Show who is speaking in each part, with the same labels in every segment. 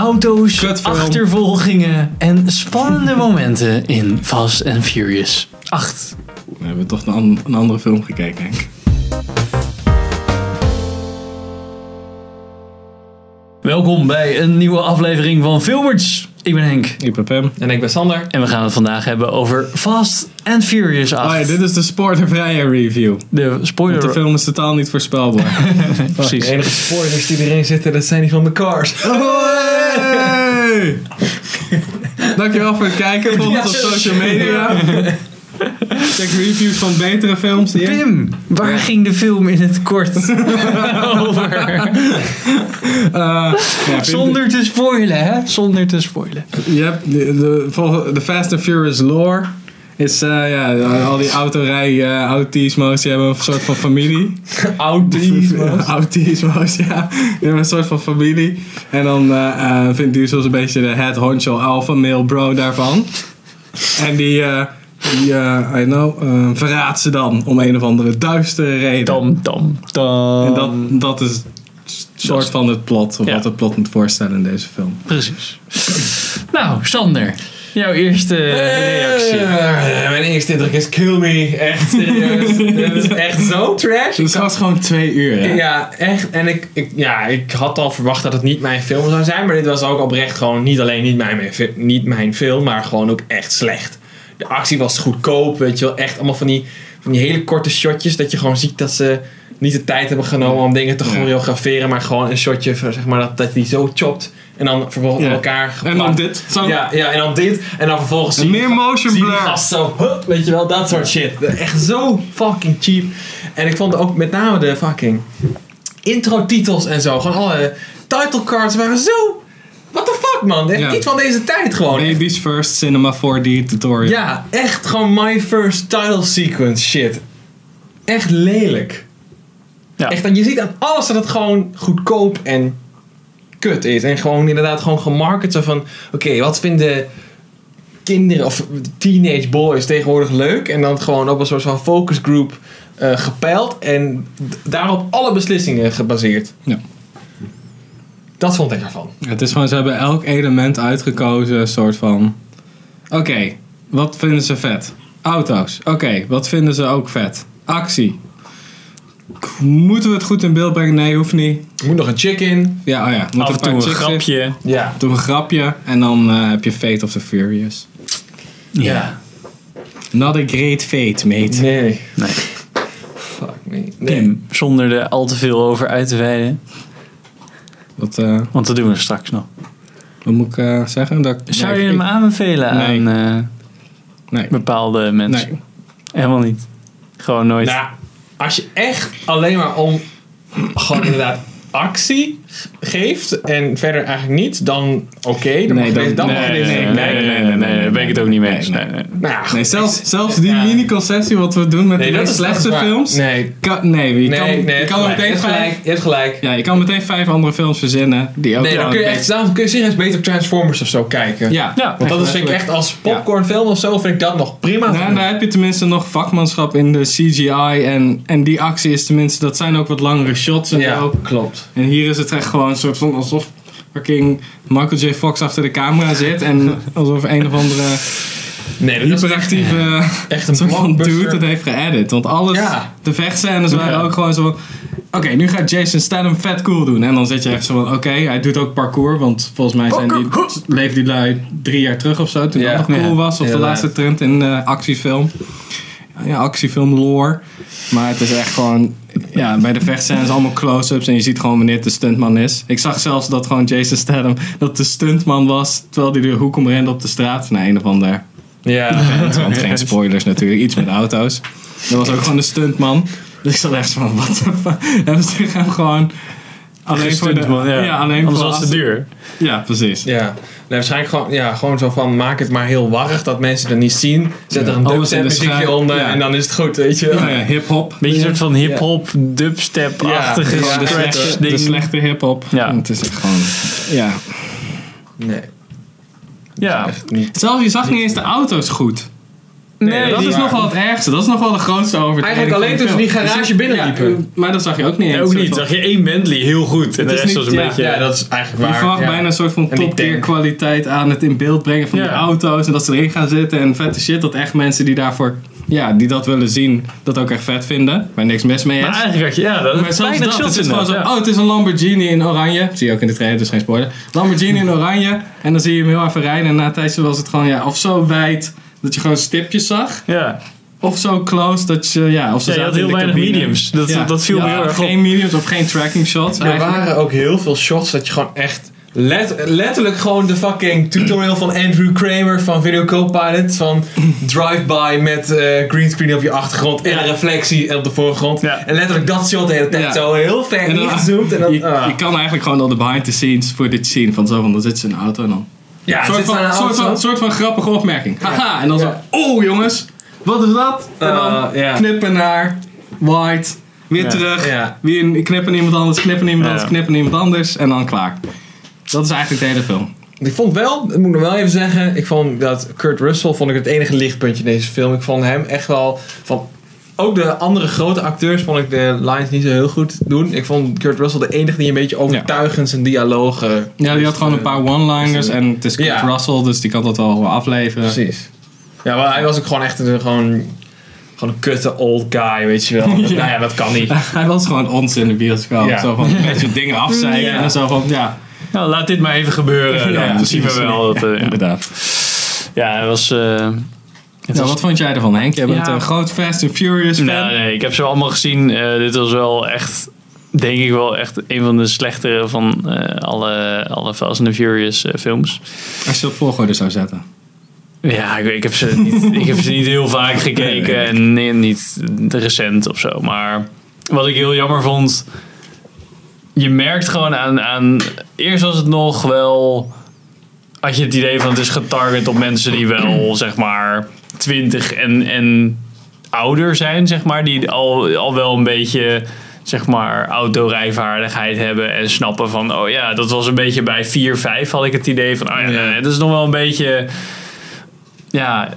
Speaker 1: auto's,
Speaker 2: Kutfilm.
Speaker 1: achtervolgingen en spannende momenten in Fast and Furious 8.
Speaker 2: We hebben toch een, an- een andere film gekeken, Henk.
Speaker 1: Welkom bij een nieuwe aflevering van Filmers. Ik ben Henk
Speaker 2: Ik ben Pam.
Speaker 3: En ik ben Sander.
Speaker 1: en we gaan het vandaag hebben over Fast and Furious 8.
Speaker 2: Ah, ja, dit is de spoilervrije review.
Speaker 1: De
Speaker 2: Want de
Speaker 1: spoiler.
Speaker 2: film is totaal niet voorspelbaar.
Speaker 3: De
Speaker 1: Precies.
Speaker 3: enige spoilers die erin zitten, dat zijn die van de cars.
Speaker 2: Hey! Dankjewel voor het kijken. Volg ons op social media. Check reviews van betere films. die Henk-
Speaker 1: Pim, waar ging de film in het kort
Speaker 3: eh,
Speaker 1: over?
Speaker 2: Ja,
Speaker 1: Zonder te spoilen, hè? Zonder te spoilen.
Speaker 2: Je hebt de, de, volg- de Fast and Furious lore. Is eh, ja, al die autorij, eh autismo's, die hebben een soort van familie.
Speaker 3: Autisme.
Speaker 2: Autismo's, ja. Die hebben een soort van familie. En dan eh, eh, vindt Diesel een beetje de head honcho alpha male bro daarvan. En die, eh, die eh, I know, eh, verraadt ze dan om een of andere duistere reden.
Speaker 1: Tam, tam, tam.
Speaker 2: En dat, dat is s- soort van het plot, of
Speaker 1: Ja.
Speaker 2: wat het plot moet voorstellen in deze film.
Speaker 1: Precies. Nou, Sander, jouw eerste reactie.
Speaker 3: Eh, Mijn eerste indruk is kill me. Echt serieus. Dit is echt zo trash.
Speaker 2: Dus het was gewoon twee uur, hè?
Speaker 3: Ja, echt. En ik, ik, ja, ik had al verwacht dat het niet mijn film zou zijn. Maar dit was ook oprecht gewoon niet alleen niet mijn, mijn fi- niet mijn film, maar gewoon ook echt slecht. De actie was goedkoop, weet je wel. Echt allemaal van die, van die hele korte shotjes. Dat je gewoon ziet dat ze niet de tijd hebben genomen om dingen te
Speaker 2: Ja.
Speaker 3: choreograferen. Maar gewoon een shotje, van, zeg maar, dat, dat die zo chopt. En dan vervolgens
Speaker 2: Ja.
Speaker 3: aan elkaar
Speaker 2: En dan
Speaker 3: geplakt.
Speaker 2: dit. Zo.
Speaker 3: Ja, ja, en dan dit. En dan vervolgens zie je-
Speaker 2: Meer motion
Speaker 3: zie je die
Speaker 2: blur.
Speaker 3: gast zo, huh, weet je wel, dat soort shit. Echt zo fucking cheap. En ik vond ook met name de fucking intro-titels en zo. Gewoon alle title cards waren zo. What the fuck, man? Echt
Speaker 2: Ja.
Speaker 3: niet van deze tijd gewoon.
Speaker 2: Baby's first cinema 4D tutorial.
Speaker 3: Ja, echt gewoon my first title sequence shit. Echt lelijk.
Speaker 1: Ja.
Speaker 3: Echt, en je ziet aan alles dat het gewoon goedkoop en kut is. En gewoon inderdaad gewoon gemarket zo van... Oké, wat vinden kinderen of teenage boys tegenwoordig leuk? En dan gewoon op een soort van focus group eh, gepeild. En d- daarop alle beslissingen gebaseerd.
Speaker 2: Ja.
Speaker 3: Dat vond ik ervan.
Speaker 2: Het is gewoon, ze hebben elk element uitgekozen, soort van. Oké, wat vinden ze vet? Auto's. Oké, wat vinden ze ook vet? Actie. Moeten we het goed in beeld brengen? Nee, hoeft niet.
Speaker 3: Er moet nog een chick in.
Speaker 2: Ja, oh ja. Moet
Speaker 1: Af en toe een
Speaker 2: chicks in.
Speaker 1: grapje.
Speaker 3: Ja.
Speaker 2: Doe een grapje en dan eh, heb je Fate of the Furious.
Speaker 1: Ja.
Speaker 2: Not a great fate, mate.
Speaker 3: Nee.
Speaker 1: Nee.
Speaker 3: Fuck me. Nee.
Speaker 1: Pim, zonder er al te veel over uit te wijden.
Speaker 2: Wat, eh,
Speaker 1: Want dat doen we straks nog.
Speaker 2: wat moet ik eh, zeggen? Dat,
Speaker 1: Zou
Speaker 2: nee,
Speaker 1: je
Speaker 2: ik-
Speaker 1: hem aanbevelen
Speaker 2: Nee.
Speaker 1: aan eh,
Speaker 2: Nee.
Speaker 1: bepaalde mensen?
Speaker 2: nee.
Speaker 1: Helemaal niet. Gewoon nooit.
Speaker 3: Nou, als je echt alleen maar om gewoon inderdaad actie ge- geeft en verder eigenlijk niet, dan oké. dan mag
Speaker 2: Nee,
Speaker 3: je
Speaker 2: dan-
Speaker 3: deze- dan mag
Speaker 1: nee,
Speaker 3: je
Speaker 1: nee,
Speaker 3: deze-
Speaker 1: nee, nee,
Speaker 2: nee,
Speaker 1: nee,
Speaker 2: nee,
Speaker 1: nee,
Speaker 2: nee,
Speaker 1: nee, daar ben ik het ook niet mee eens.
Speaker 2: nee,
Speaker 1: Nee, nee.
Speaker 3: Nou ja,
Speaker 2: Nee,
Speaker 3: goed.
Speaker 2: zelfs, zelfs die
Speaker 3: Ja.
Speaker 2: mini-concessie wat we doen met
Speaker 3: Nee,
Speaker 2: de
Speaker 3: dat
Speaker 2: meest
Speaker 3: is dat is
Speaker 2: slechtste
Speaker 3: waar.
Speaker 2: films.
Speaker 3: Nee,
Speaker 2: Kan, nee, je
Speaker 3: nee,
Speaker 2: kan,
Speaker 3: nee,
Speaker 2: je
Speaker 3: je
Speaker 2: kan er meteen
Speaker 3: hebt gelijk.
Speaker 2: vijf.
Speaker 3: Je hebt gelijk.
Speaker 2: Ja, je kan meteen vijf andere films verzinnen die ook
Speaker 3: Nee, dan
Speaker 2: wel
Speaker 3: kun je
Speaker 2: een
Speaker 3: echt,
Speaker 2: beetje-
Speaker 3: dan kun je serieus beter Transformers of zo kijken.
Speaker 2: Ja,
Speaker 1: Ja,
Speaker 3: Want dat is, vind ik echt als popcornfilm of zo, vind ik dat nog prima.
Speaker 2: Nou, en daar heb je tenminste nog vakmanschap in de CGI en, en die actie is tenminste, dat zijn ook wat langere shots en
Speaker 3: ja,
Speaker 2: zo.
Speaker 3: klopt.
Speaker 2: En hier is het echt gewoon een soort van alsof fucking Michael J. Fox achter de camera zit en alsof een of andere
Speaker 3: Nee, dat is echt,
Speaker 2: hyperactieve
Speaker 3: echt een
Speaker 2: soort van dude
Speaker 3: blockbuster.
Speaker 2: het heeft geëdit. Want alles,
Speaker 3: Ja.
Speaker 2: de vechtscènes waren
Speaker 1: Ja.
Speaker 2: ook gewoon zo van, oké, nu gaat Jason Statham vet cool doen. En dan zit je echt zo van, oké, hij doet ook parkour, want volgens mij zijn die, leefde die lui drie jaar terug of zo, toen
Speaker 3: Ja.
Speaker 2: dat nog cool
Speaker 1: Ja.
Speaker 2: was. Of de
Speaker 3: Inderdaad.
Speaker 2: laatste trend in eh, actiefilm. Ja, actiefilm lore. Maar het is echt gewoon, ja, bij de vechtscènes allemaal close-ups en je ziet gewoon wanneer het de stuntman is. Ik zag zelfs dat gewoon Jason Statham, dat de stuntman was, terwijl hij de hoek om rende op de straat. Nee, een of ander
Speaker 3: Ja.
Speaker 2: event, want geen spoilers natuurlijk, iets met auto's. Dat was ook gewoon een stuntman. Dus ik zat echt zo van, wat de fuck. Hebben ze hem gewoon... Alleen voor de,
Speaker 1: Gestuurd, man, ja.
Speaker 2: alleen
Speaker 1: Anders
Speaker 2: voor
Speaker 1: was het
Speaker 2: als-
Speaker 1: duur.
Speaker 2: Ja, precies.
Speaker 3: Ja, nee, waarschijnlijk gewoon, ja, gewoon zo van maak het maar heel warrig dat mensen het niet zien. Zet
Speaker 2: Ja,
Speaker 3: er een
Speaker 2: alles in
Speaker 3: dubstep
Speaker 2: de
Speaker 3: muziekje
Speaker 2: schaduw,
Speaker 3: onder
Speaker 2: ja.
Speaker 3: en dan is het goed, weet je wel.
Speaker 2: Ja, ja, hip-hop.
Speaker 1: Beetje een soort van hip-hop, dubstep-achtige
Speaker 3: Ja,
Speaker 2: Gewoon de,
Speaker 1: scratch
Speaker 2: slechte, de
Speaker 1: ding.
Speaker 2: slechte hip-hop.
Speaker 1: Ja.
Speaker 2: En Het is echt gewoon... Ja.
Speaker 3: Nee,
Speaker 1: Ja.
Speaker 3: echt niet.
Speaker 2: Zelfs je zag niet eens de auto's goed. Nee,
Speaker 3: Nee,
Speaker 2: dat
Speaker 3: die-
Speaker 2: is nog wel het ergste. Dat is nog wel de grootste overtreding.
Speaker 3: Eigenlijk alleen
Speaker 2: van de
Speaker 3: toen ze
Speaker 2: film.
Speaker 3: die garage
Speaker 2: Dus-
Speaker 3: binnenliepen.
Speaker 2: ja, maar dat zag je ook niet.
Speaker 4: Ja,
Speaker 2: eens.
Speaker 4: ook
Speaker 2: Soort
Speaker 4: niet.
Speaker 2: van-
Speaker 4: Zag je één Bentley heel goed en
Speaker 2: Het
Speaker 4: de
Speaker 2: is
Speaker 4: rest
Speaker 2: niet-
Speaker 4: was een
Speaker 2: ja,
Speaker 4: beetje...
Speaker 3: Ja, dat is eigenlijk
Speaker 2: Je
Speaker 3: waar.
Speaker 2: verwacht
Speaker 3: ja.
Speaker 2: bijna een soort van
Speaker 3: En die
Speaker 2: top-tier
Speaker 3: tank.
Speaker 2: kwaliteit aan het in beeld brengen van
Speaker 4: Ja.
Speaker 2: die auto's. En dat ze erin gaan zitten en vette shit. Dat echt mensen die daarvoor, ja, die dat willen zien, dat ook echt vet vinden. Waar niks mis mee is.
Speaker 4: Maar eigenlijk had je... Ja, dat
Speaker 2: Maar zelfs
Speaker 4: bijna
Speaker 2: dat,
Speaker 4: chill
Speaker 2: het is
Speaker 4: inderdaad,
Speaker 2: gewoon zo,
Speaker 4: ja.
Speaker 2: oh het is een Lamborghini in oranje. Zie je ook in de trailer, dus geen spoiler. Lamborghini in oranje. En dan zie je hem heel even rijden. En na een tijdje was het gewoon, ja, of zo wijd dat je gewoon stipjes zag.
Speaker 4: Ja.
Speaker 2: Of zo close dat je, ja, of ze
Speaker 4: Ja, je
Speaker 2: zaten
Speaker 4: had
Speaker 2: in
Speaker 4: heel
Speaker 2: de
Speaker 4: weinig
Speaker 2: cabine.
Speaker 4: mediums. Dat-
Speaker 2: Ja.
Speaker 4: dat viel me
Speaker 2: Ja,
Speaker 4: heel erg op.
Speaker 2: Geen mediums of geen tracking shots
Speaker 3: Er
Speaker 2: eigenlijk.
Speaker 3: waren ook heel veel shots dat je gewoon echt... let- letterlijk gewoon de fucking tutorial van Andrew Kramer van Video Copilot. Van drive-by met eh greenscreen op je achtergrond en
Speaker 2: Ja.
Speaker 3: een reflectie op de voorgrond.
Speaker 4: Ja.
Speaker 3: En letterlijk dat shot de hele tijd
Speaker 2: Ja.
Speaker 3: zo heel ver
Speaker 2: En dan-
Speaker 3: ingezoomd. En dan,
Speaker 2: je,
Speaker 3: ah.
Speaker 2: je kan eigenlijk gewoon al de behind the scenes voor dit zien. Van zo van, dan zit ze in een auto en dan...
Speaker 3: ja,
Speaker 2: soort,
Speaker 3: zit
Speaker 2: van,
Speaker 3: aan een
Speaker 2: soort, van,
Speaker 3: auto.
Speaker 2: soort van grappige opmerking. Haha, en dan
Speaker 3: Ja.
Speaker 2: zo, oh jongens, wat is dat? En dan
Speaker 3: Ah, ja.
Speaker 2: knippen naar, white, weer
Speaker 4: Ja.
Speaker 2: terug.
Speaker 3: Ja.
Speaker 2: Weer een- knippen iemand anders, knippen iemand
Speaker 4: Ja.
Speaker 2: anders, knippen iemand anders. En dan klaar. Dat is eigenlijk de hele film.
Speaker 3: Ik vond wel, dat moet ik nog wel even zeggen, ik vond dat Kurt Russell vond ik het enige lichtpuntje in deze film. Ik vond hem echt wel van. Ook de andere grote acteurs vond ik de lines niet zo heel goed doen. Ik vond Kurt Russell de enige die een beetje overtuigend zijn dialogen. eh,
Speaker 2: Ja, die had gewoon een paar one-liners en het is Kurt
Speaker 3: Ja.
Speaker 2: Russell, dus die kan dat wel afleveren.
Speaker 3: Precies. Ja, maar hij was ook gewoon echt een, gewoon, gewoon een kutte old guy, weet je wel. Dat- Nou ja, dat kan niet.
Speaker 2: Hij was gewoon ons in de bioscoop.
Speaker 3: Ja.
Speaker 2: Zo van een beetje dingen afzeiken
Speaker 3: Ja.
Speaker 2: en zo van, ja,
Speaker 4: Nou, laat dit maar even gebeuren.
Speaker 2: Ja,
Speaker 4: Dan zien we
Speaker 2: precies.
Speaker 4: wel. Dat, eh, ja.
Speaker 2: inderdaad.
Speaker 4: ja, het was... eh, het
Speaker 2: Nou,
Speaker 4: was
Speaker 2: wat vond jij ervan, Henk? Jij bent
Speaker 4: Ja.
Speaker 2: een groot Fast and Furious fan.
Speaker 4: Nou, nee, ik heb ze allemaal gezien. Eh, dit was wel echt, denk ik wel echt een van de slechtere van eh, alle, alle Fast and the Furious eh, films.
Speaker 2: Als je op volgorde zou zetten.
Speaker 4: Ja, ik, ik, heb ze niet, ik heb ze niet heel vaak gekeken
Speaker 2: Nee,
Speaker 4: en nee, niet recent of zo. Maar wat ik heel jammer vond, je merkt gewoon aan, aan eerst was het nog wel, had je het idee van het is getarget op mensen die wel zeg maar 20 en, en ouder zijn, zeg maar, die al, al wel een beetje zeg maar autorijvaardigheid hebben en snappen van oh ja, dat was een beetje bij 4, 5 had ik het idee van oh ja,
Speaker 2: Ja.
Speaker 4: eh, dat is nog wel een beetje ja,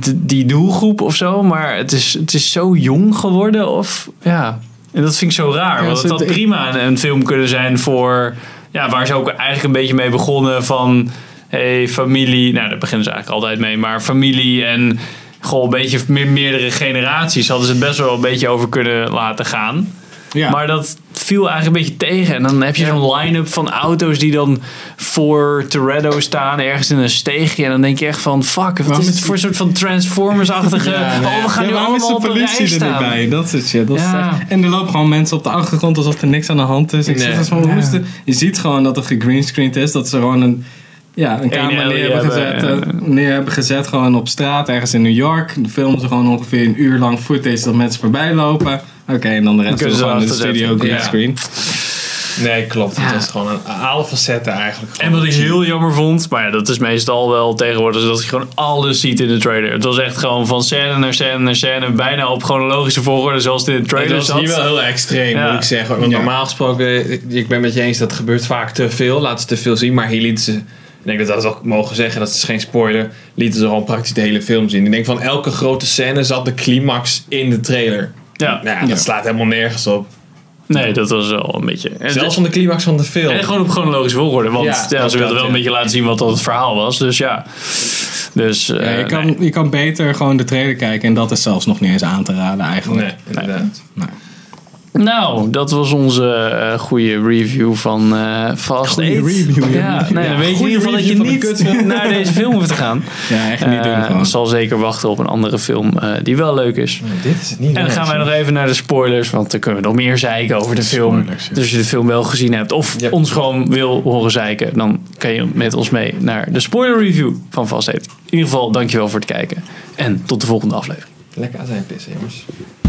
Speaker 4: d- die doelgroep of zo, maar het is, het is zo jong geworden of ja. En dat vind ik zo raar,
Speaker 2: Ja,
Speaker 4: want
Speaker 2: ze-
Speaker 4: het had
Speaker 2: ik-
Speaker 4: prima een, een film kunnen zijn voor ja, waar ze ook eigenlijk een beetje mee begonnen van hey, familie, nou daar beginnen ze eigenlijk altijd mee, maar familie en gewoon een beetje me- meerdere generaties hadden ze het best wel een beetje over kunnen laten gaan.
Speaker 2: Ja.
Speaker 4: Maar dat viel eigenlijk een beetje tegen. En dan heb je zo'n line-up van auto's die dan voor Toretto staan, ergens in een steegje. En dan denk je echt van, fuck, wat
Speaker 2: Waarom
Speaker 4: is
Speaker 2: is
Speaker 4: het
Speaker 2: die-
Speaker 4: voor soort van Transformers-achtige... Oh, we gaan
Speaker 2: Ja,
Speaker 4: nu
Speaker 2: waarom is
Speaker 4: allemaal
Speaker 2: de
Speaker 4: op een rij
Speaker 2: politie er
Speaker 4: staan.
Speaker 2: niet bij? Dat soort shit. Dat is
Speaker 4: Ja.
Speaker 2: echt- en er lopen gewoon mensen op de achtergrond alsof er niks aan de hand is. Ik
Speaker 3: Nee.
Speaker 2: zit als van, hoe is dit? Je ziet gewoon dat er gegreenscreened is. Dat ze gewoon een, ja, een camera
Speaker 4: alley
Speaker 2: neer hebben, gezet,
Speaker 4: hebben,
Speaker 2: eh, neer hebben gezet. Gewoon op straat, ergens in New York. Dan filmen ze gewoon ongeveer een uur lang footage dat mensen voorbij lopen. Oké, en dan de rest
Speaker 4: kunnen
Speaker 2: is
Speaker 4: ze
Speaker 2: gewoon in de
Speaker 4: erachter
Speaker 2: studio
Speaker 4: zetten.
Speaker 2: greenscreen.
Speaker 3: Nee, klopt. Het was gewoon een alle facetten eigenlijk.
Speaker 4: En wat ik heel jammer vond, maar ja, dat is meestal wel tegenwoordig, is dat je gewoon alles ziet in de trailer. Het was echt gewoon van scène naar scène naar scène, bijna op chronologische volgorde zoals het in de trailer
Speaker 3: Dat is
Speaker 4: zat.
Speaker 3: hier wel heel extreem,
Speaker 4: Ja.
Speaker 3: moet ik zeggen. Want
Speaker 2: Ja.
Speaker 3: normaal gesproken, ik- ik ben met je eens, dat gebeurt vaak te veel. Laten ze te veel zien. Maar hier lieten ze, ik denk dat we dat ook mogen zeggen, dat is geen spoiler, lieten ze gewoon praktisch de hele film zien. Ik denk van elke grote scène zat de climax in de trailer.
Speaker 4: Ja,
Speaker 3: Nou, ja,
Speaker 2: Ja.
Speaker 3: dat slaat helemaal nergens op.
Speaker 4: nee, dat was wel een beetje... En
Speaker 3: Zelfs van de climax van de film.
Speaker 4: En gewoon op chronologische volgorde, want
Speaker 3: Ja,
Speaker 4: ja,
Speaker 3: ook
Speaker 4: ze wilden
Speaker 3: dat,
Speaker 4: wel
Speaker 3: ja.
Speaker 4: een beetje laten zien wat dat het verhaal was. Dus ja. Dus,
Speaker 2: Ja,
Speaker 4: eh,
Speaker 2: je, kan,
Speaker 4: nee.
Speaker 2: je kan beter gewoon de trailer kijken. En dat is zelfs nog niet eens aan te raden eigenlijk.
Speaker 3: Nee, inderdaad.
Speaker 4: Nou, dat was onze eh, goede review van eh Fast
Speaker 2: Goede
Speaker 4: 8.
Speaker 2: review, ja.
Speaker 4: ja. nee,
Speaker 2: Ja,
Speaker 4: dan weet je in
Speaker 2: goede
Speaker 4: ieder geval dat
Speaker 2: review
Speaker 4: je
Speaker 2: van een
Speaker 4: niet naar deze film hoeft te gaan.
Speaker 2: Ja, echt niet doen
Speaker 4: Eh,
Speaker 2: gewoon.
Speaker 4: zal zeker wachten op een andere film eh, die wel leuk is.
Speaker 3: Dit is het niet.
Speaker 4: En dan gaan wij nog even naar de spoilers, want dan kunnen we nog meer zeiken over de film.
Speaker 2: Spoilers, ja.
Speaker 4: Dus als je de film wel gezien hebt of
Speaker 3: Yep.
Speaker 4: ons gewoon wil horen zeiken, dan kan je met ons mee naar de spoiler review van Fast Eight. In ieder geval, dankjewel voor het kijken en tot de volgende aflevering.
Speaker 3: Lekker aan zijn pissen, jongens.